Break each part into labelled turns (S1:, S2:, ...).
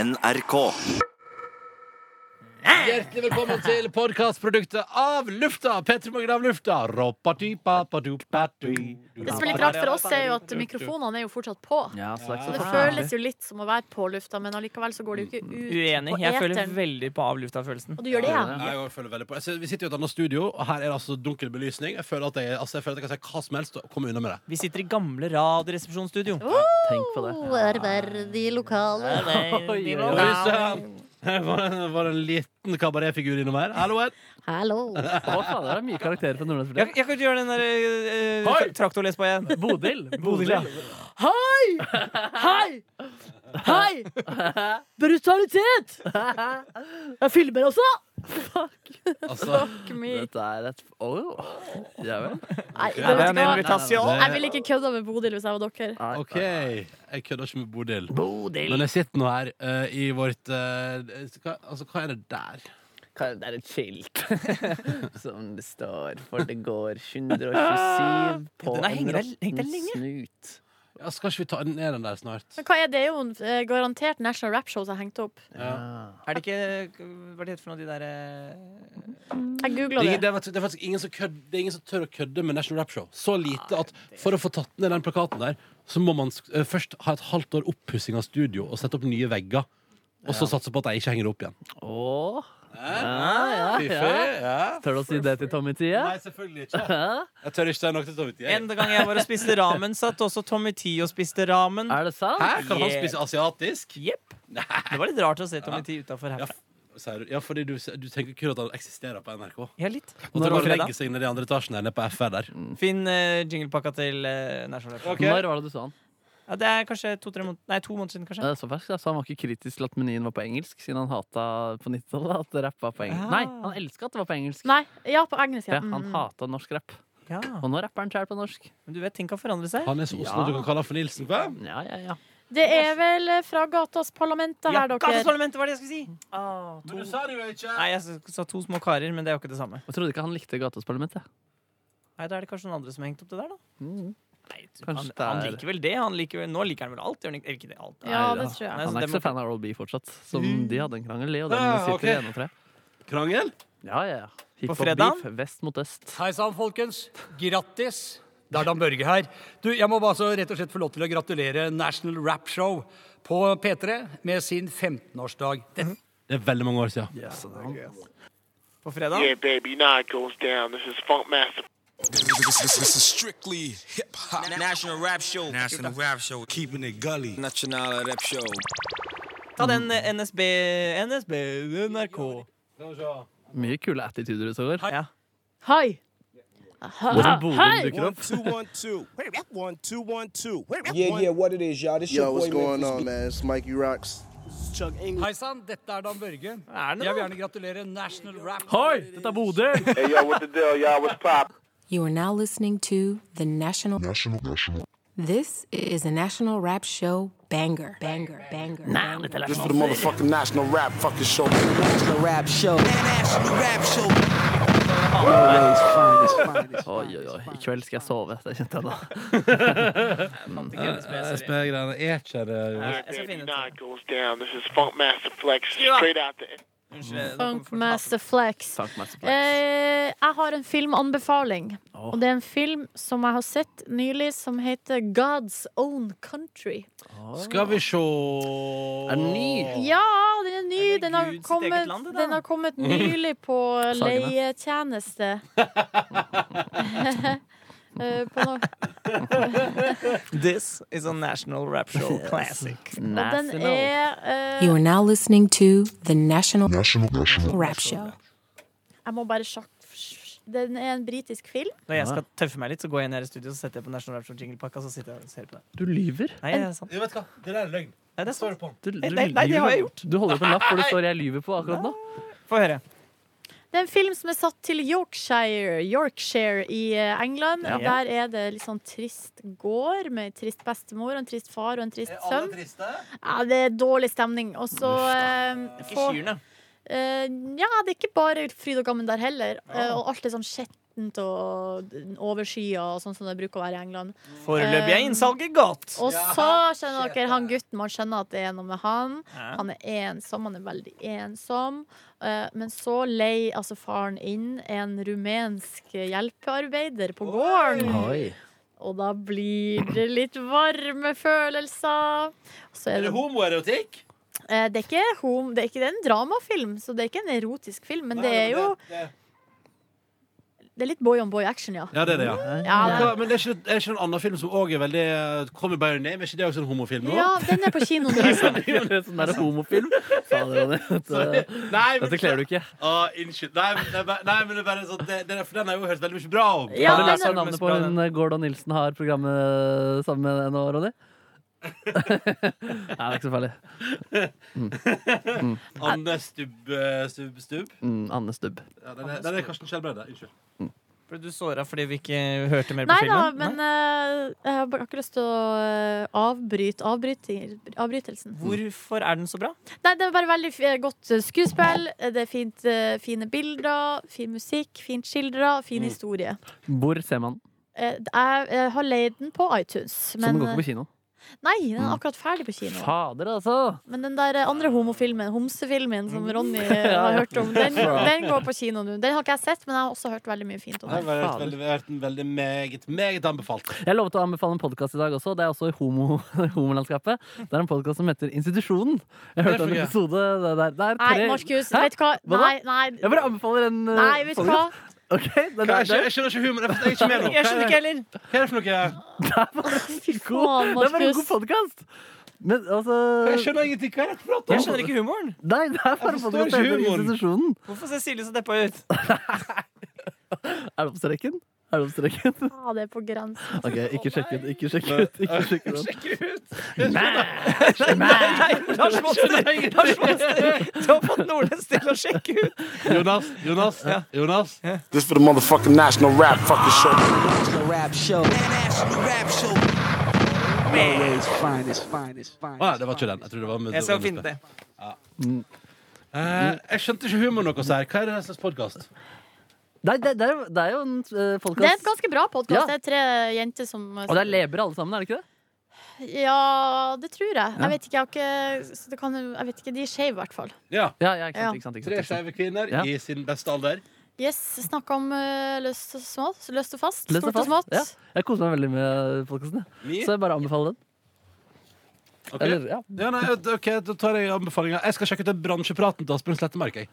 S1: NRK.
S2: Hjertelig velkommen til podkastproduktet Av lufta! Petter Morgen av lufta.
S3: Det
S2: Det
S3: som er litt rart for oss, er jo at mikrofonene er jo fortsatt på.
S4: Ja, så det er ikke
S3: Så
S4: så
S3: det
S4: farlig.
S3: føles jo litt som å være på lufta, men allikevel så går det jo ikke ut
S4: Uenig.
S3: på
S4: Jeg føler
S3: eteren.
S4: veldig på avlufta-følelsen.
S3: Og du gjør det, ja?
S2: Nei, jeg føler veldig på altså, Vi sitter jo i et annet studio, og her er det altså dunkel belysning. Jeg føler at jeg, altså, jeg, føler at jeg kan si hva som helst og komme unna med det.
S4: Vi sitter i gamle Radioresepsjonsstudio.
S5: Tenk på det.
S3: Ærverdige lokaler.
S2: Oi,
S4: Hallo,
S2: sann! Var det var det en liten kabaretfigur innom her? Hallo, Ed.
S3: Hallo.
S5: Å, faen, det er mye karakterer fra Nordlands
S4: Jeg, jeg kan ikke gjøre den der eh,
S2: Hei!
S4: tra- traktorlespa igjen.
S5: Bodil.
S4: Bodil, ja.
S6: Hei! Hei! Brutalitet! Jeg filmer også!
S2: Altså,
S5: Dette er et Åh, Ja vel.
S3: Nei,
S4: Nei, det er
S3: vet du
S4: en
S3: hva?
S4: invitasjon.
S3: Jeg ville ikke kødda med Bodil hvis jeg var dere.
S5: Nei.
S2: OK. Jeg kødder ikke med Bodil.
S5: Bodil.
S2: Men jeg sitter nå her eh, i vårt eh, hva, Altså, hva er det der?
S5: Kan- Det er et skilt som det står for det går 127 på
S4: Den har hengt
S5: en
S4: der- hengt der
S5: råtten
S4: lenge.
S5: snut.
S2: Ja, skal ikke vi ta ned den der snart?
S3: Men hva er det jo en eh, garantert National Rap Show som har hengt opp?
S5: Ja.
S4: Er det ikke Hva er det heter for noe de der eh,
S3: Jeg googla
S2: Det er,
S3: det.
S2: det, er faktisk, det er faktisk ingen som, kødd, det er ingen som tør å kødde med National Rap Show. Så
S4: Ah,
S2: lite at for å få tatt ned den plakaten der, så må man sk- eh, først ha et halvt år oppussing av studio og sette opp nye vegger. Og så satse på at de ikke henger det opp igjen.
S5: Åh.
S2: Ah,
S5: Ja, ja, ja. Tør du å si det til Tommy Tia?
S2: Nei, selvfølgelig ikke. Jeg tør ikke si noe til Tommy Tier.
S4: En gang jeg var og spiste ramen, satt også Tommy Tee og spiste ramen.
S5: Er det sant?
S2: Hæ? Kan han spise asiatisk?
S4: Jepp. Det var litt rart å se Tommy Tee utafor
S2: Ja,
S4: herfra.
S2: f- sier du- ja, fordi du, du tenker kun at han eksisterer på NRK. Og
S4: Ja, litt.
S2: at
S4: Når
S2: han
S4: var det da?
S2: legger seg ned i andre etasjen der, nede på FR der.
S4: Finn eh, jinglepakka til uh, National Rap.
S5: Når var det du så han?
S4: Ja, det er kanskje to-tre måneder Nei, to måneder siden, kanskje.
S5: Ja, det er så fersk, da. Så han var ikke kritisk til at menyen var på engelsk, siden han hata på 90-tallet at det rappa på engelsk.
S4: Ah.
S5: Nei, han elska at det var på engelsk.
S3: Nei, ja, på engelsk.
S5: Ja,
S3: Ja.
S5: han
S3: Mm.
S5: hata norsk rapp.
S4: Ja.
S5: Og nå rapper han sjæl på norsk.
S4: Men du vet, ting kan forandre seg.
S2: Han er så Oslo
S5: Ja.
S2: du kan kalle han for Nilsen på.
S5: Ja, ja, ja.
S3: Det er vel eh, fra gatas parlament her,
S4: Ja,
S3: dere.
S4: Gateparlamentet var det jeg skulle si!
S2: Men du sa det jo ikke!
S4: Nei, jeg sa to små karer, men det er jo ikke det samme.
S5: Jeg trodde ikke han likte Gatas Parlament. jeg.
S4: Nei, Da er det kanskje noen andre som har hengt opp det der, da.
S2: Mm.
S4: Nei, han,
S5: Kanskje det
S4: han
S5: er-
S4: liker vel det. Han liker vel, nå liker han vel alt. Gjør han ikke, eller ikke det, alt.
S3: Ja, det tror jeg.
S4: Nei,
S5: Han
S4: så
S5: er
S4: det
S5: ikke så
S4: må-
S5: fan av Oral B fortsatt, som
S4: Mm.
S5: de hadde en krangel i, og den
S2: Ja,
S4: Ah,
S5: sitter
S2: ok.
S5: igjen, tror jeg.
S2: Krangel?
S5: Ja, ja, ja.
S4: fredagen?
S5: Hiphop-beef, vest mot øst.
S7: Hei sann, folkens. Grattis. Det er Dan Børge her. Du, Jeg må bare så rett og slett få lov til å gratulere National Rap Show på P3 med sin 15-årsdag. Det-
S2: Det er veldig mange år siden.
S4: På fredag.
S8: Yeah, baby, now it goes down. This is Funk Master.
S9: National Rap Show, keeping it gully.
S4: Ta den eh, NSB NSB NRK.
S5: Mye kule attituder utover.
S4: Ja.
S3: Hei!
S5: Hvordan Bodil dukker opp.
S9: two, one, two. One, two, one, two.
S10: Yeah, yeah, what it is, y'all. This your
S8: Yo,
S10: boy,
S8: what's going
S10: Memphis
S8: on,
S10: Bleak.
S8: man? It's Mikey Rocks.
S7: Hei sann, dette er Dan Børge.
S4: Er det
S7: Jeg vil
S4: noe?
S7: gjerne gratulere National Rap
S5: Hoi, dette er Bodil!
S8: Hey, yo, what the deal, y'all? What's pop?
S11: You are now listening to the National. National. This is a National Rap Show banger. Banger. Banger. banger.
S8: This for the motherfucking national rap fucking show. National rap show.
S5: Oi, oi, oi. I kveld skal jeg sove. Det kjente jeg da.
S4: Eh,
S2: Eh, NSB-greiene er ikke det
S4: Nei, Jeg skal
S8: Baby,
S4: finne
S8: now
S4: ut.
S8: it goes down. This is Funk Master Flex.
S4: Yeah.
S8: Straight out the.
S4: Unnskyld, det kommer
S3: Funk
S4: for-
S3: Master Flex.
S5: Takk, Master Plex.
S3: Eh, jeg har en filmanbefaling.
S5: Åh.
S3: Og det er en film som jeg har sett nylig, som heter God's Own Country.
S2: Skal vi se
S5: Er den ny?
S3: Ja, den er ny.
S4: Er det
S3: Den har
S4: Gud sitt eget
S3: kommet,
S4: land, det da?
S3: den har kommet nylig på
S5: Sagene.
S3: leietjeneste. Eh, på no
S4: This is a national rap show classic.
S3: og den
S5: National.
S3: er eh,
S11: You are now listening to the National. Rap Show.
S3: Jeg må bare sjakk... Den er en britisk film.
S4: Når jeg skal tøffe meg litt, så går jeg ned i studio, så setter jeg på National Rap Show jinglepakka, så sitter jeg og ser på det.
S5: Du lyver.
S4: Nei, det er sant.
S2: Du vet hva, det der er løgn.
S4: Nei, det er sant.
S2: på den.
S5: Du, du
S4: Nei, Eh, nei, nei, det har jeg gjort.
S5: Du holder opp en lapp hvor det står 'jeg lyver' på akkurat nå.
S4: Få høre.
S3: Det er en film som er satt til Yorkshire, Yorkshire i eh, England.
S4: Ja.
S3: Der er det litt sånn trist gård med en trist bestemor, og en trist far og en trist sønn. Ja, det er dårlig stemning. Og så eh,
S4: Ikke
S3: får
S4: kyrne. Ah.
S3: eh, Ja, det er ikke bare fryd og gammen der heller. Eh, og alt er sånn skjettent skittent og overskya og sånn som det bruker å være i England.
S4: Foreløpig er
S3: Um,
S4: innsalget godt.
S3: Og så skjønner dere han gutten. Man skjønner at det er noe med han.
S4: Ja.
S3: Han er ensom, han er veldig ensom. Eh, Men så leier altså faren inn en rumensk hjelpearbeider på gården.
S5: Oi.
S3: Og da blir det litt varme følelser. Så er det,
S2: homoerotikk?
S3: eh, det, er ikke hom, det er ikke det er en dramafilm, så det er ikke en erotisk film. Men det er jo Det er litt boy on boy action, ja.
S2: Ja, det er det, ja.
S3: Ja, det
S2: Hva- Men det er ikke, er ikke en annen film som òg er veldig eh, Call me by your name? Er ikke det også en homofilm? nå?
S3: ja, den er på kino nå.
S5: Sånn der homofilm. Fader, Ronny,
S2: Sorry.
S5: dette-
S2: Nei, men,
S5: Dette kler du ikke.
S2: Ah, innskyld. Nei, men det er bare, nei, men det er bare sånn det, det, er- For den har jeg jo hørt veldig mye bra om.
S3: Ja,
S5: Har du
S3: men-
S5: lært deg navnet på hun eh, Gordon Nilsen har programmet sammen med deg nå, Ronny? Nei, det er ikke så farlig.
S2: Anne Stubb eh, Stubb Stubb.
S5: Mm, Anne Stubb.
S2: Ja, den, er, den er Karsten Skjelbreide. Unnskyld.
S4: Ble du såra fordi vi ikke hørte mer på
S3: Nei da,
S4: filmen?
S3: men eh, jeg har bare ikke lyst til å eh, avbryte avbryter, avbrytelsen.
S4: Hvorfor er den så bra?
S3: Nei, det er bare veldig f- eh, godt skuespill. Det er fint, eh, fine bilder, fin musikk, fint skildra,
S5: Mm.
S3: fin historie.
S5: Hvor ser man den?
S3: Eh, Jeg eh, har leid den på iTunes.
S5: Så
S3: Men, eh,
S5: den går ikke på kino. Mm.
S3: Nei, den er akkurat ferdig på kino.
S5: Fader, altså!
S3: Men den der eh, andre homofilmen, homsefilmen, som
S5: Mm.
S3: Ronny eh, har hørt om, den, den går på kino nå. Den har ikke jeg sett, men jeg har også hørt veldig mye fint om
S2: Den
S3: den.
S2: har vært veldig, vært en veldig meget, meget anbefalt.
S5: Jeg lovet å anbefale en podkast i dag også. Det er også i homo, homolandskapet. Det er en podkast som heter Institusjonen. Jeg
S2: Det er
S5: hørte en
S2: for gøy.
S5: episode det er- det er
S3: Nei,
S5: tre-
S3: Markus,
S5: Hæ?
S3: vet du hva?
S5: Hva da?
S3: Nei, nei.
S5: Jeg bare anbefaler en eh,
S3: Nei, vet du hva?
S5: podcast. Ok, den
S2: Hva,
S5: er
S2: jeg, skjønner, jeg skjønner ikke humor. Jeg er ikke med nå.
S4: Jeg skjønner ikke
S2: Hva er,
S4: heller.
S2: det- hva er det for noe?
S3: Fy faen,
S5: Det er bare en god
S3: Markus.
S5: podkast! Men altså
S2: Jeg skjønner ingenting. Hva er det for noe?
S4: Jeg skjønner ikke humoren.
S5: Nei, det er bare en
S2: forstår
S5: podkast
S2: ikke
S5: som heter
S2: humoren.
S5: Institusjonen.
S4: Hvorfor ser Silje så deppa ut?
S5: Er det på streken? Er det på streken?
S3: Ja, Ah, det er på grensen.
S5: Ok, ikke sjekk ut. Ikke sjekk ut. Ikke sjekk ut.
S4: Lars Monsen! Lars Monsen! Du har fått Nordnes til å sjekke ut!
S2: Jonas, Jonas, Jonas.
S8: This for the motherfucking National Rap fucking show.
S10: Rap show. Oh, Always finest, finest, finest.
S2: Å nei, det var ikke den. Jeg tror det var
S4: Jeg skal finne det.
S2: Eh, jeg skjønte ikke humor noe så her. Hva er det slags podkast?
S5: Nei, det, det, er, jo- det er jo en uh,
S3: Det er et
S5: podkast.
S3: ganske bra podkast.
S5: Ja.
S3: Det er tre jenter som
S5: Og det er leber alle sammen, er det ikke det?
S3: Ja, det tror jeg. Jeg vet ikke, jeg har ikke så det kan, jo- jeg vet ikke, De er skeive, i hvert fall.
S2: Ja.
S5: Ja, ja, ikke
S3: Ja.
S5: sant, ikke sant, ikke sant,
S2: Tre
S5: ikke sant.
S2: skeive kvinner
S5: Ja.
S2: i sin beste alder.
S3: Yes, Snakka om eh, løst og smått. Løst og fast.
S5: Løst og
S3: stort og
S5: fast,
S3: smått.
S5: ja. Jeg koser meg veldig med podkasten.
S2: Ni.
S5: Så jeg bare anbefaler den.
S2: Ok.
S5: Eller, ja.
S2: Ja, nei, ok, Da tar jeg anbefalinga. Jeg skal sjekke ut den bransjepraten til Asbjørn Slettemark. Jeg.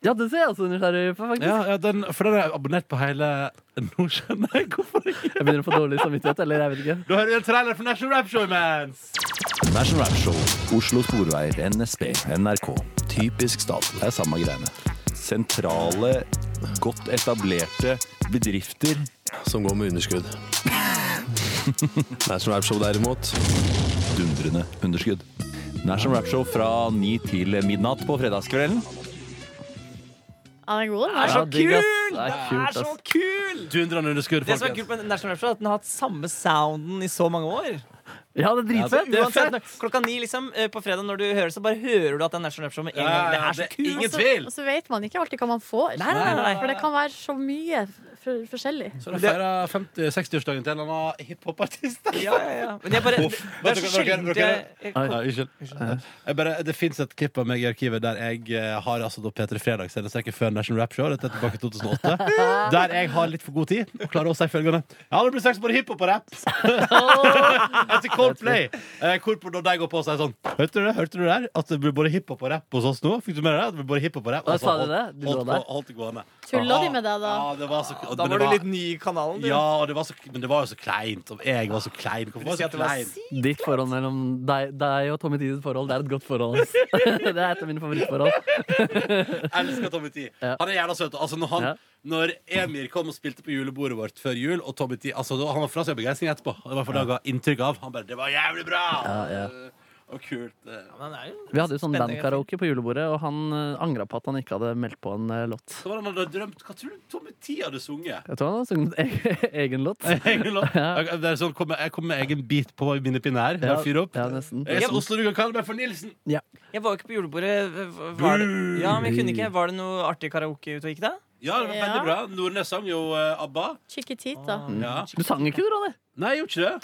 S5: ja, det ser jeg også nysgjerrig på, faktisk.
S2: Ja, ja, den, for den er jeg abonnert på hele Nå skjønner jeg hvorfor ikke.
S5: Jeg begynner å få dårlig samvittighet, eller jeg vet ikke.
S2: Da hører vi en trailer for National Rap Show imens!
S1: National Rap Show, Oslo Sporveier, NSB, NRK. Typisk staten, det er samme greiene. Sentrale, godt etablerte bedrifter.
S9: Som går med underskudd. National Rap Show derimot.
S1: Dundrende underskudd. National Rap Show fra 9 til midnatt på fredagskvelden.
S3: Ja, den er god, den
S4: Det er
S3: der.
S4: så
S5: Ja, digg, ass.
S4: kul!
S5: Det
S4: Det
S5: er
S4: er
S5: kult,
S4: så
S5: ass.
S4: kul!
S2: Dundrende underskudd,
S4: Det som er
S2: folkens.
S4: kult med National Rap Show, er at den har hatt samme sounden i så mange år.
S5: Ja, det er dritfett!
S2: det er
S4: Uansett,
S2: fett.
S4: når- Klokka ni liksom, eh, på fredag når du hører det, så bare hører du at det er National Rap Show med en
S2: Ja,
S4: gang. Det
S2: ja,
S4: er så
S2: det er
S4: kult!
S2: ingen
S3: Og så-
S2: tvil.
S3: Og så vet man ikke alltid hva man får.
S4: Nei, nei, nei, nei.
S3: For det kan være så mye f- f- forskjellig.
S2: Så de feirer 50-60-årsdagen til en eller annen hiphopartist.
S4: Ja, ja, ja. Men jeg bare, det
S2: Uff.
S4: det er
S2: Dere-
S4: så
S2: dere-
S4: sjeldent jeg, jeg,
S2: Ja, unnskyld. Jeg bare, det fins et klipp av meg i arkivet der jeg eh, har altså da P3 Fredag sendestreken før National Rap Show. Dette er tilbake i 2008. Der jeg har litt for god tid og klarer å si følgende Ja, det blir sex både hiphop og rap. Etter Coldplay. Eh, Hvorpå da de går på og sier sånn Hørte du det? Hørte du det der? At det blir både hiphop og rap hos oss nå? Fikk du med deg det? At det blir både hiphop og rap Altså,
S5: Hva sa de
S2: holdt-
S5: det? De lå
S2: holdt
S5: der?
S2: på- holdt det gående.
S3: Tulla de med deg da?
S2: Ja, det var så,
S4: Da
S2: men
S4: var
S2: det
S4: du litt ny i kanalen, du.
S2: Ja, og det var så, men det var jo så kleint. Og jeg var så klein. Hvorfor
S4: Du
S2: var
S4: sier
S2: jeg
S4: at
S2: så
S4: det var
S2: klein?
S4: si-
S5: Ditt forhold mellom deg, deg og Tommy Tides forhold, det er et godt forhold. ass. Det er et av mine favorittforhold.
S2: elsker Tommy T.
S5: Ja.
S2: Han er jævla søt. Altså, når, han,
S5: Ja.
S2: når Emir kom og spilte på julebordet vårt før jul, og Tommy T altså, da- Han var fra seg begeistring etterpå. Det var for det han ga inntrykk av. Han bare 'Det var jævlig bra!'
S5: ja.
S2: Og kult. eh.
S4: Men det er jo-
S5: Vi hadde jo sånn
S4: Spennende.
S5: bandkaraoke på julebordet, og han eh, angra på at han ikke hadde meldt på en eh, låt.
S2: Så var det han hadde drømt Hva tror du Tommy T hadde sunget?
S5: Jeg tror han hadde sunget egen, egen låt.
S2: Egen låt.
S5: Ja.
S2: Jeg- Det er sånn, kom, med- jeg kom med egen bit på minnepinne her. Bare
S5: Ja,
S2: fyr opp.
S5: ja, nesten.
S2: Jeg er så Oslo, du kan kalle meg for Nilsen.
S5: Ja.
S4: eh, jeg var jo ikke på julebordet. Var det, ja, men jeg kunne ikke. Var det noe artig karaoke ute og gikk da?
S2: Ja, det var veldig
S3: Ja.
S2: bra. Nordnes sang jo eh, ABBA.
S3: Chiquitita.
S2: Ja.
S5: Du sang ikke du, Ronny?
S2: Nei, jeg gjorde ikke det.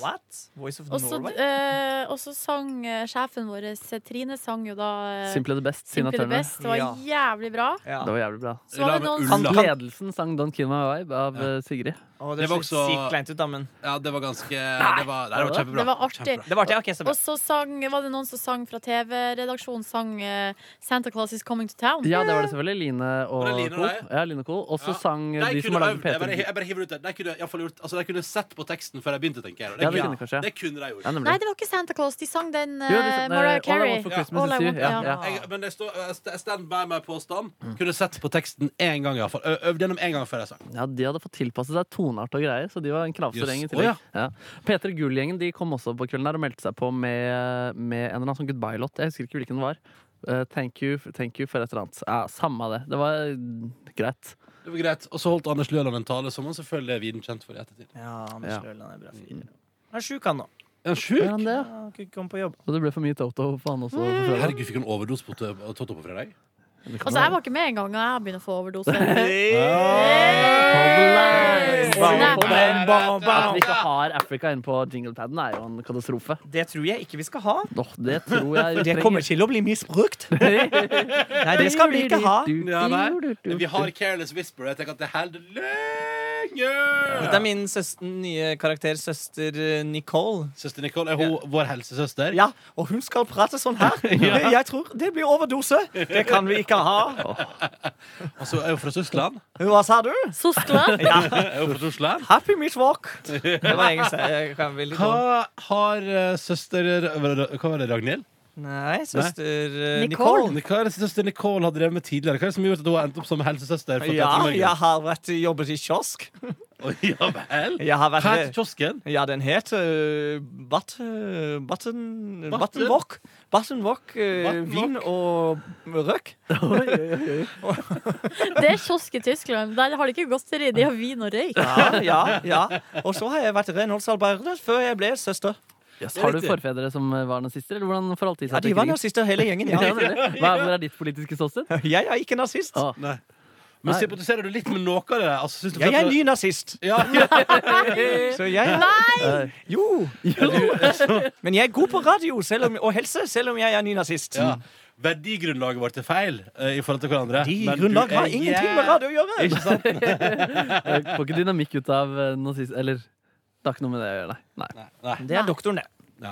S5: What?
S4: Voice of
S3: Og så
S4: Ah, Norway?
S3: eh, og så sang eh, sjefen vår, Trine, sang jo da eh,
S5: Simply the best, Tina
S3: Simply the
S5: Turner.
S3: best. Det var jævlig bra.
S5: Det var jævlig bra.
S3: Så var det noen
S5: Han
S3: som-
S5: ledelsen sang Don't Kill My Vibe av eh, Sigrid.
S4: Å, det, var også... Sykt kleint ut, da, men
S2: Ja, det var ganske Det var, det var kjempebra.
S3: Det var artig.
S4: Det var artig, ok, så bra.
S3: Og så sang, var det noen som sang fra TV-redaksjonen sang eh, 'Santa Claus Is Coming to Town'.
S5: Ja, det var det selvfølgelig. Line og
S2: Var det Line og
S5: Co.
S2: deg?
S5: Ja, Line og Co. Og så
S2: Ja.
S5: sang eh,
S2: De
S5: de som
S2: kunne
S5: har laget
S2: øvd. Jeg bare,
S5: P3
S2: jeg bare hiver ut det. De kunne, i alle fall gjort, altså, de kunne sett på teksten før de begynte, tenker jeg.
S5: Ja, det kunne de kanskje.
S2: Det kunne de gjort.
S5: Ja, nemlig.
S3: Nei, det var ikke Santa Claus. De sang den eh,
S5: Jo, de sang, eh,
S3: Mariah
S5: All I
S3: Carey.
S5: Want for Christmas
S3: All
S5: Is
S3: I
S5: You.
S3: Want-
S5: Ja, ja.
S2: Jeg, men det står jeg st- jeg Stand by my påstand.
S5: Mm.
S2: Kunne sett på teksten én gang, iallfall. Øvd gjennom én gang før jeg sang.
S5: Ja, De hadde fått tilpasset seg toneart og greier, så de var en knavsete gjeng. i
S2: Jøss. Å,
S5: tillegg. ja. P3 Gull-gjengen de kom også på kvelden der og meldte seg på med, med en eller annen sånn goodbye-låt. Jeg husker ikke hvilken det var. Eh, thank, you, thank you for et eller annet. Ja, Samme det. Det var mm, greit.
S2: Det var greit. Og så holdt Anders Løland en tale som han selvfølgelig er viden kjent for i ettertid.
S4: Ja, Anders
S5: Ja.
S4: Løland er bra fyr. Han er sjuk, han nå.
S2: Er han sjuk?
S5: Er han det?
S4: Ja, Mm. han kunne ikke komme på jobb.
S5: Og det ble for mye Toto for han også. på fredag.
S2: Herregud, fikk han overdose på t- Totto på fredag?
S3: Altså, jeg var ikke med engang, og jeg begynner å få overdose. Eh, Snap.
S4: Bam, bam,
S5: At
S4: bam.
S5: vi ikke har Africa inne på jinglepaden, er jo en katastrofe.
S4: Det tror jeg ikke vi skal ha.
S5: Åh, det tror jeg
S4: For det kommer til å bli misbrukt. Nei, det skal vi ikke ha.
S2: Ja, nei. Vi har Careless Whisper. Jeg tenker at det holder lenge!
S4: Dette er min søster, nye karakter, søster eh, Nicole.
S2: Søster Nicole, er hun vår helsesøster?
S4: Ja, og hun skal prate sånn her. Det- Jeg tror det blir overdose. Det kan vi ikke ha.
S2: Og så Altså, er hun fra Tyskland.
S4: Hva sa du?
S3: Soskland.
S2: Er hun fra Tyskland?
S4: Happy meat walk. Det var engelsk. Jeg kan veldig dårlig.
S2: Hva har eh, søster Hva var det, Ragnhild?
S4: Nei, søster eh,
S3: Nicole.
S4: Nicole.
S2: Hva er det søster Nicole har drevet med tidligere? Hva er det som har gjort at hun har endt opp som helsesøster? for
S4: Ja,
S2: Petter Morgan?
S4: jeg har vært, jobbet i kiosk.
S2: Å, ja vel?
S4: Jeg har
S2: Hva heter
S4: vært
S2: kiosken?
S4: Ja, den het uh, Bat, eh, Batten
S2: Batten?
S4: Batten Wok. Batten Wok, eh,
S2: Batten
S4: vin og røk.
S3: Det er kiosk i Tyskland. Der har de ikke godteri, de har vin og røyk.
S4: Ja, ja, ja. Og så har jeg vært renholdsarbeider før jeg ble søster.
S5: Yes, har du forfedre som eh, var nazister, eller hvordan forholdt de seg
S4: Ja, de var nazister hele gjengen.
S5: Ja,
S4: Ja.
S5: nemlig. Hva er, hvor er ditt politiske ståsted?
S4: Jeg er ikke nazist.
S5: Å,
S2: Nei. Men
S5: Nei.
S2: sympatiserer du litt med noe av det? der? Altså, syns du
S4: Jeg er
S2: for-
S4: ny nazist.
S2: Ja, ja.
S4: Så jeg Nei! Jo. Altså. Men jeg er god på radio selv om, og helse, selv om jeg er ny nazist.
S2: ja. Verdigrunnlaget vårt er feil eh, i forhold til hverandre.
S4: De
S2: men du
S4: grunnlag har
S2: er
S4: ingenting med radio å gjøre.
S2: Ikke sant?
S5: jeg får ikke dynamikk ut av eh, nazist... Eller det har ikke noe med det å gjøre, nei. nei.
S2: Nei.
S4: Det er doktoren, det.
S2: Ja.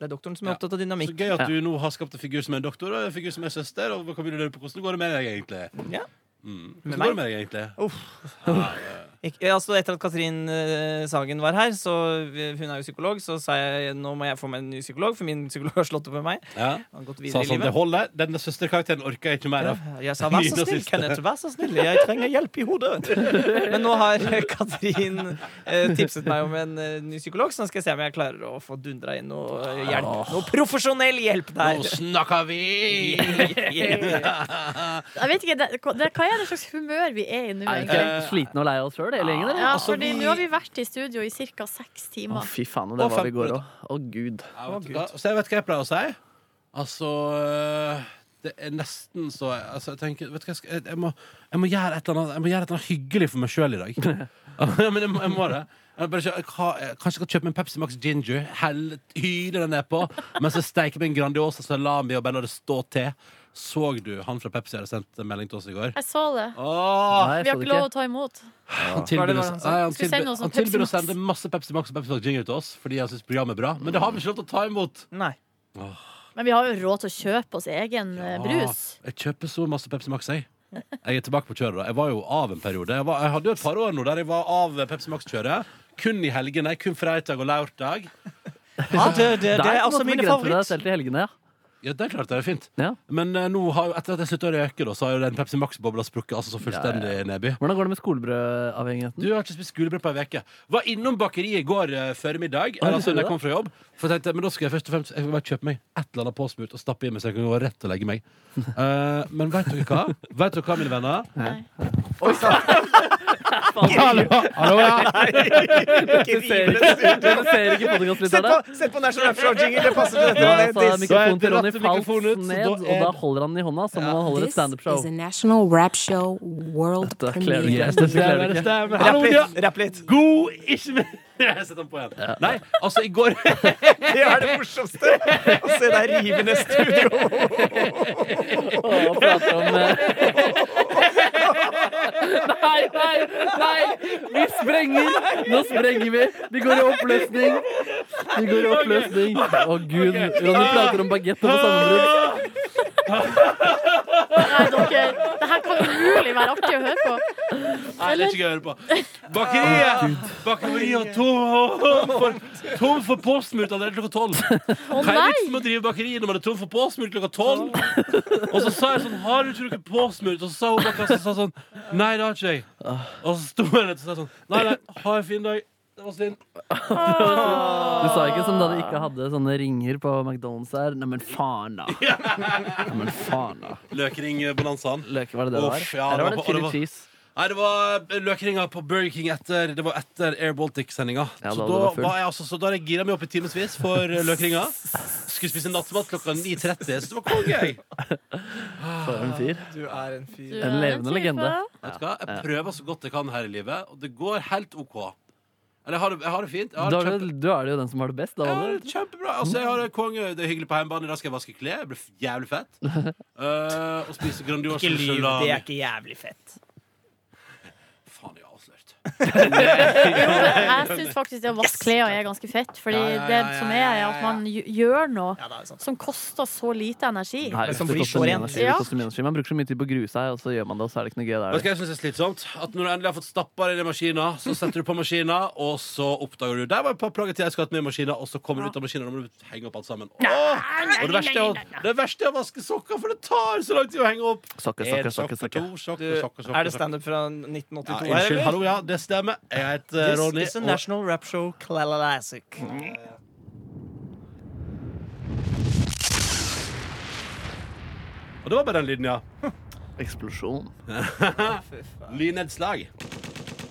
S4: Det er doktoren som er
S2: Ja.
S4: opptatt av
S2: Så
S4: dynamikk.
S2: gøy at du nå har skapt en figur som er en doktor og en figur som er søster. Og kan vi lure på Hvordan går det med deg, egentlig?
S4: Ja.
S2: Mm.
S4: Med
S2: Hvordan går det med deg, egentlig?
S4: Ik- altså etter at Katrin eh, Sagen var her, så vi- hun er jo psykolog, så sa jeg nå må jeg få meg en ny psykolog, for min psykolog har slått opp med meg.
S2: Ja.
S4: Han har gått
S2: Sa
S4: videre i
S2: sånn, det
S4: livet.
S2: holder. Denne søsterkarakteren orker jeg ikke mer av.
S4: Jeg sa vær så
S2: Ny
S4: snill,
S2: nazist.
S4: Kenneth, vær så snill, jeg trenger hjelp i hodet. Men nå har Katrin eh, tipset meg om en eh, ny psykolog, så nå skal jeg se om jeg klarer å få dundra inn noe eh, hjelp. Noe profesjonell hjelp
S2: Nå
S4: der.
S2: snakker vi!
S3: Jeg vet ikke, det, det, Hva er det slags humør vi er i nå?
S5: Er vi
S3: egentlig?
S5: ikke slitne og lei oss sjøl, hele gjengen? eller?
S3: Ja,
S2: Altså,
S3: fordi
S2: vi-
S3: nå har vi vært i studio i ca. seks
S5: Å,
S3: timer.
S5: fy faen, og det
S2: Og
S5: var vi i
S2: 15
S5: går òg. Å, gud.
S2: Ja, vet du hva? Så jeg vet hva jeg pleier å si. Altså øh, Det er nesten så altså, jeg, tenker, vet du hva, jeg, skal, jeg- jeg, må, jeg må gjøre et eller annet Jeg må gjøre et eller annet hyggelig for meg sjøl i dag. ja, men jeg må, jeg må det. Jeg bare, kjø- hva- jeg, kanskje jeg skal kjøpe meg en Pepsi Max Ginger, hell, hyle den nedpå, mens jeg steiker meg en Grandiosa salami og bare lar det stå til. Så du han fra Pepsi hadde sendt en melding til oss i går?
S3: Jeg så det.
S2: Åh,
S5: Nei,
S3: Vi har
S5: jeg så det
S3: ikke lov å
S5: ikke.
S3: ta imot.
S2: han
S4: Hva er
S2: tilbyr
S4: det
S2: oss-
S4: han
S2: Altså,
S4: sa?
S2: nei, han
S3: Skal vi sende
S2: tilbyr- han
S3: oss noen Pepsi
S2: tilbyr å
S3: Max?
S2: sende masse Pepsi Max og Pepsi Max Ginger til oss fordi han syns programmet er bra, men det har vi ikke lov til å ta imot.
S4: Nei.
S3: Men vi har jo råd til å kjøpe oss egen eh, brus.
S2: Ah, jeg kjøper så masse Pepsi Max, jeg. Jeg er tilbake på kjøret. da. Jeg var jo av en periode. Jeg, var, jeg hadde jo et par år nå der jeg var av Pepsi Max-kjøret. Kun i helgene. Kun fredag og lørdag.
S4: Ja, det, det, det er altså også mine favoritter.
S5: favoritter. Selv til helgene, ja.
S2: Ja, det er klart det er fint.
S5: Ja.
S2: Men eh, nå har, jo- etter at jeg slutta å røyke, da, så har jo den Pepsi Max-bobla sprukket altså så fullstendig nedby.
S5: Hvordan går det med skolebrødavhengigheten?
S2: Du jeg har ikke spist skolebrød på ei uke. Var innom bakeriet i går eh, før middag.
S5: Oi,
S2: altså når
S5: gjorde du
S2: jeg kom fra jobb For jeg tenkte, men da skal jeg først og fremst Jeg skal bare kjøpe meg et eller annet påsmurt og stappe i meg, så jeg kan gå rett og legge meg. Eh, men vet dere hva? Vet dere hva, mine venner?
S3: Nei.
S5: faen.
S4: Hallo, ja.
S5: Dere ser ikke, dere ser ikke
S4: Sett på,
S5: podkastlytterne.
S4: sett på National Rap Show-jingle, det passer til
S5: Da
S4: dette.
S5: er altså mikrofonen til Ronny
S4: Ratt
S5: falt
S4: mikrofonen ut, så
S5: ned,
S4: da
S5: og
S4: er-
S5: da holder han den i hånda som om han holder et
S11: This
S5: standup-show.
S11: is a national rap show world
S5: klarer du ikke.
S11: premiere.
S5: Dette klarer du ikke.
S2: Hallo, ja.
S4: Rapp litt.
S2: God ikke mer Jeg setter den på igjen. Nei, altså, i går
S4: Det er det morsomste! Å se deg rive ned studio.
S5: Og prater om eh, Nei, nei, nei! Vi sprenger! Nå sprenger vi. Vi går i oppløsning. Vi går i oppløsning. Å, gud. Ronny prater om bagett og sammenbrudd.
S3: Nei, dere, det her kan umulig være artig å høre på.
S2: Nei, det er ikke gøy å høre på. Bakeriet! Bakeriet tom, for, tom for påsmurt allerede klokka tolv.
S3: Å
S2: Hva er
S3: nei!
S2: vitsen med å drive bakeri når man er tom for påsmurt klokka tolv? Og så sa jeg sånn Har du ikke påsmurt? Og så sa hun bak kassa sa sånn Nei, det har ikke jeg. Og så sto jeg der og sa sånn Nei, nei, ha en fin dag. Det var synd.
S5: Du sa ikke som da de ikke hadde sånne ringer på McDonald's her. Neimen, faen, da. Neimen, faen, da.
S2: Løkringbonanzaen.
S5: Løk, var det det det var?
S2: Uff, ja, det
S5: Eller
S2: var-
S5: var det
S2: det
S5: chili
S2: var-
S5: cheese?
S2: Nei, det var løkringa på Burger King etter, det var etter Air Baltic-sendinga.
S5: Ja,
S2: så,
S5: da
S2: da
S5: var det full.
S2: var jeg altså, så da jeg gira meg opp i timevis for eh, løkringa. Skulle spise nattmat klokka 9.30, så det var konge. jeg.
S5: For en fyr.
S4: Du er en
S3: Du
S4: fyr.
S5: En
S3: er
S5: levende
S3: type.
S5: legende.
S2: Vet du hva? Jeg prøver så godt jeg kan her i livet, og det går helt OK. Eller jeg har det, jeg har det fint. Jeg har
S5: Du
S2: det
S5: er,
S2: kjempe,
S5: jo- du er jo den som har det best. Da,
S2: jeg har
S5: Oliver.
S2: det kjempebra. Altså, jeg har det konge. Det er hyggelig på hjemmebane. I dag skal jeg vaske klær. Det blir f- jævlig fett. Eh, og spise Grandiosa
S4: Ikke lyv, det er
S2: salami.
S4: ikke jævlig fett.
S2: Faen, jeg er avslørt.
S3: Jo, men jeg syns faktisk det å vaske klær er ganske fett. Fordi
S2: Ja, ja, ja,
S3: det
S2: ja,
S3: som
S2: ja,
S3: er,
S2: ja,
S3: er
S2: ja.
S3: at man gj- gjør noe
S4: Ja, det er sant.
S3: som koster så lite energi.
S5: Nei,
S4: Men som
S5: det
S4: blir
S5: koster
S4: så
S5: mye
S4: rent.
S5: energi, det
S3: Ja.
S5: koster mye energi. Man bruker så mye tid på å grue seg, og så gjør man det, og så er det ikke noe gøy. Da,
S2: Vet du
S5: er det.
S2: hva jeg synes er slitsomt? At når du endelig har fått stappa det i maskina, så setter du på maskina, og så oppdager du Der var et par plagg til jeg skulle hatt med i maskina, og så kommer du ut av maskina, og da må du henge opp alt sammen. Åh! Og det verste, er, å- det verste er å vaske sokker, for det tar så lang tid å henge opp.
S5: Sokker,
S2: En
S5: sokker,
S2: sokk, to
S5: sokker, sokker.
S4: Du,
S2: sokker, sokker, sokker.
S4: er det standup
S2: Ja,
S4: fra 1982?
S2: unnskyld,
S4: eller?
S2: hallo, ja, det stemmer. Jeg heter Ronny.
S4: This is a
S2: og-
S4: national rap show classic.
S2: Og det var bare den lyden, ja.
S5: Eksplosjon.
S2: Lynnedslag.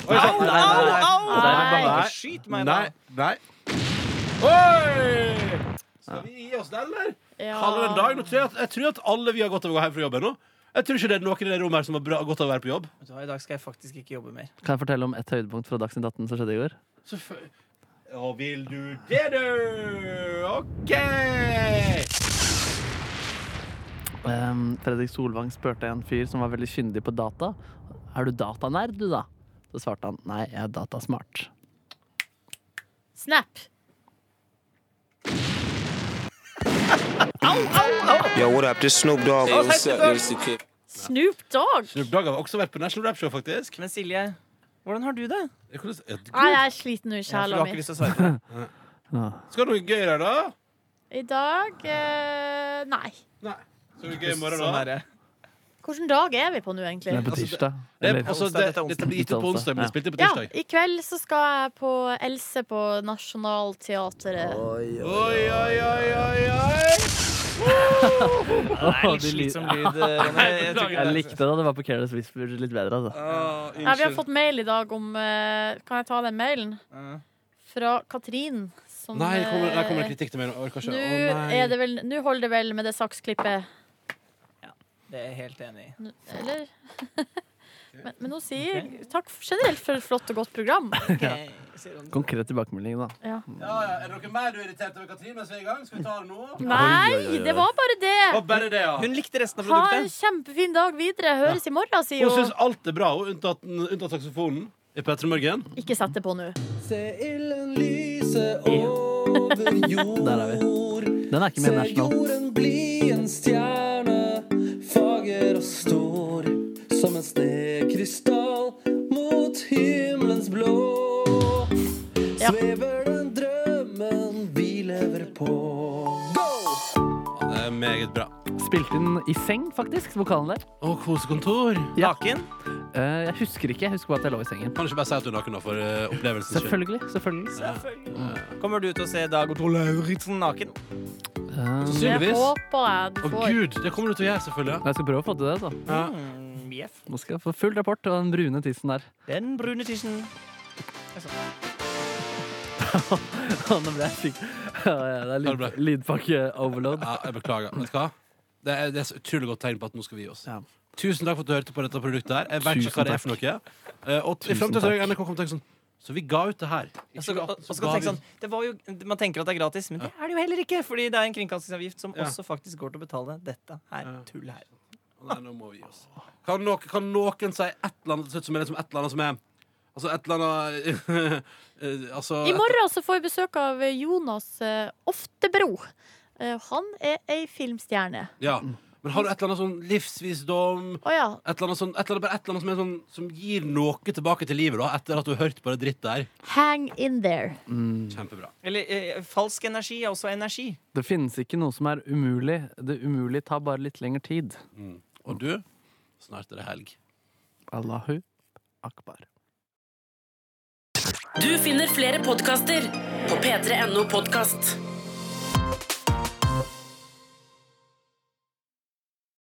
S4: Au, au, au!
S3: Nei.
S4: Ikke Skyt meg, da.
S2: Nei. Nei. Oi! Skal vi gi oss den, eller?
S3: Ja.
S2: Kaller det en dag. Nå tror jeg, at, jeg tror at alle vi har godt av å gå hjem fra jobb ennå. Jeg tror ikke det er noen i det rommet her som har bra, godt av å være på jobb.
S4: Vet du hva, I dag skal jeg faktisk ikke jobbe mer.
S5: Kan jeg fortelle om et høydepunkt fra Dagsnytt 18 som skjedde i går?
S2: Så fø- Og vil du det, du? OK!
S5: Ehm, Fredrik Solvang spurte en fyr som var veldig kyndig på data. Er du datanerd, du, da? Så svarte han nei, jeg er datasmart.
S3: Snap.
S9: Yo, what up? This Snoop Dogg.
S4: Oh, what's up? This
S3: Snoop Dogg.
S2: Snoop Dogg har også vært på National Rap Show, faktisk.
S4: Men Silje, hvordan har du det?
S2: Jeg kunne s- Ja, du-
S3: Nei, jeg er sliten nå i
S4: Ja, for du
S3: sjela
S4: har ikke
S3: mi.
S4: lyst til å svare på det.
S2: Skal du ha noe gøy der, da?
S3: I dag eh, Nei.
S2: Nei. Skal du ha gøy i morgen,
S4: Sånn
S2: da?
S4: er det.
S3: Hvilken dag er vi på nå, egentlig?
S5: Men på
S2: Altså, det-
S5: tirsdag.
S2: Det,
S5: Eller,
S2: altså,
S4: Onsdag, altså.
S2: det,
S4: dette er
S2: dette blir gitt ut på onsdag, men det spilte på
S3: Ja,
S2: tirsdag.
S3: I kveld så skal jeg på Else på Nationaltheatret.
S2: Oi, oi, oi, oi, oi!
S4: Det er litt
S5: de ly-
S4: slitsom lyd. eh, Ronny. Jeg tror ikke
S5: jeg
S4: det er-
S5: likte det, det var på Careless Whisper litt bedre. Altså.
S2: Ah,
S3: Ja, vi har
S2: unnskyld.
S3: fått mail i dag om eh, Kan jeg ta den mailen?
S4: Ja.
S3: Fra Katrin. Som,
S2: Nei, der kommer, der kommer det
S3: eh,
S2: kritikk til meg. nå. Jeg orker ikke.
S3: Nå
S2: Å, nei.
S3: er det vel- nå holder det vel med det saksklippet.
S4: Det er jeg helt enig i.
S3: Nå- Eller? men, men hun sier takk for- generelt for et flott og godt program.
S4: Ok, sier Ronny.
S5: Konkret tilbakemelding, da.
S2: Ja, ja. Er det noe mer du er irritert over, Katrin, mens vi er i gang? Skal vi ta det nå?
S3: Nei, det var bare
S2: Og
S3: det!
S2: bare det, ja.
S4: Hun likte resten av
S3: Ha en
S4: produktet.
S3: kjempefin dag videre. Høres i morgen, sier
S2: Hun syns
S3: hun.
S2: alt er bra, hun, unntatt, unntatt saksofonen. I Petter Morgen.
S3: Ikke sett det på nå.
S5: Der er vi. Den er ikke med i National.
S3: Ja.
S2: Det er meget bra.
S5: Spilt inn i seng, faktisk, vokalen der.
S2: Og kosekontor.
S5: Ja.
S4: Naken.
S5: Eh, jeg husker ikke. Jeg husker bare at jeg lå i sengen.
S2: Kan du ikke bare si at du er naken nå, for eh, opplevelsens skyld?
S5: Selvfølgelig. selvfølgelig.
S4: Kommer du til å se Dag Otto Lauritzen sånn naken?
S5: Eh,
S3: Det
S2: Sannsynligvis.
S3: håper jeg du
S2: Å
S3: får.
S2: gud, det kommer du til å gjøre, selvfølgelig.
S5: jeg skal prøve å få til det, altså.
S2: Ja.
S4: Mjef.
S5: Nå skal jeg få full rapport av den brune tissen der.
S4: Mm, Den brune tissen. Altså,
S5: Å, Nå ble jeg syk. Ja, ja, Det er lyd, lydpakke-overload.
S2: Ja, jeg beklager. Vet du hva? Det er, det er så utrolig godt tegn på at nå skal vi gi oss. Tusen takk for at du hørte på dette produktet. her Jeg vet
S5: Tusen
S2: ikke hva det er for noe. Eh, Og i
S5: Tusen
S2: fremtiden så
S5: takk.
S2: er NRK kommer til å tenke sånn Så vi ga ut det her. I
S4: altså, og,
S2: 2018
S4: og så
S2: ga
S4: kan du tenke
S2: vi
S4: sånn, det var jo, man tenker at det er gratis, men det er det jo heller ikke. Fordi det er en kringkastingsavgift som
S2: Ja.
S4: også faktisk går til å betale dette her tullet her.
S2: Nei, nå må vi gi oss. Kan, noen- kan noen si et eller annet til slutt som er liksom et eller annet som er Altså et eller annet eh, altså,
S3: I morgen så får vi besøk av Jonas eh, Oftebro. Eh, Han er ei filmstjerne.
S2: Et, ja. Men har du et eller annet sånn livsvisdom?
S3: Å ja.
S2: Et eller annet, sånn, et eller annet, bare et eller annet som, er sånn, som gir noe tilbake til livet, da, etter at du har hørt på det dritt der?
S3: Hang in there.
S2: Kjempebra.
S4: Eller eh, falsk energi er også energi.
S5: Det finnes ikke noe som er umulig. Det umulige tar bare litt lengre tid.
S2: Og du, snart er det helg.
S5: Allahu akbar.
S12: Du finner flere podkaster på p3.no podkast.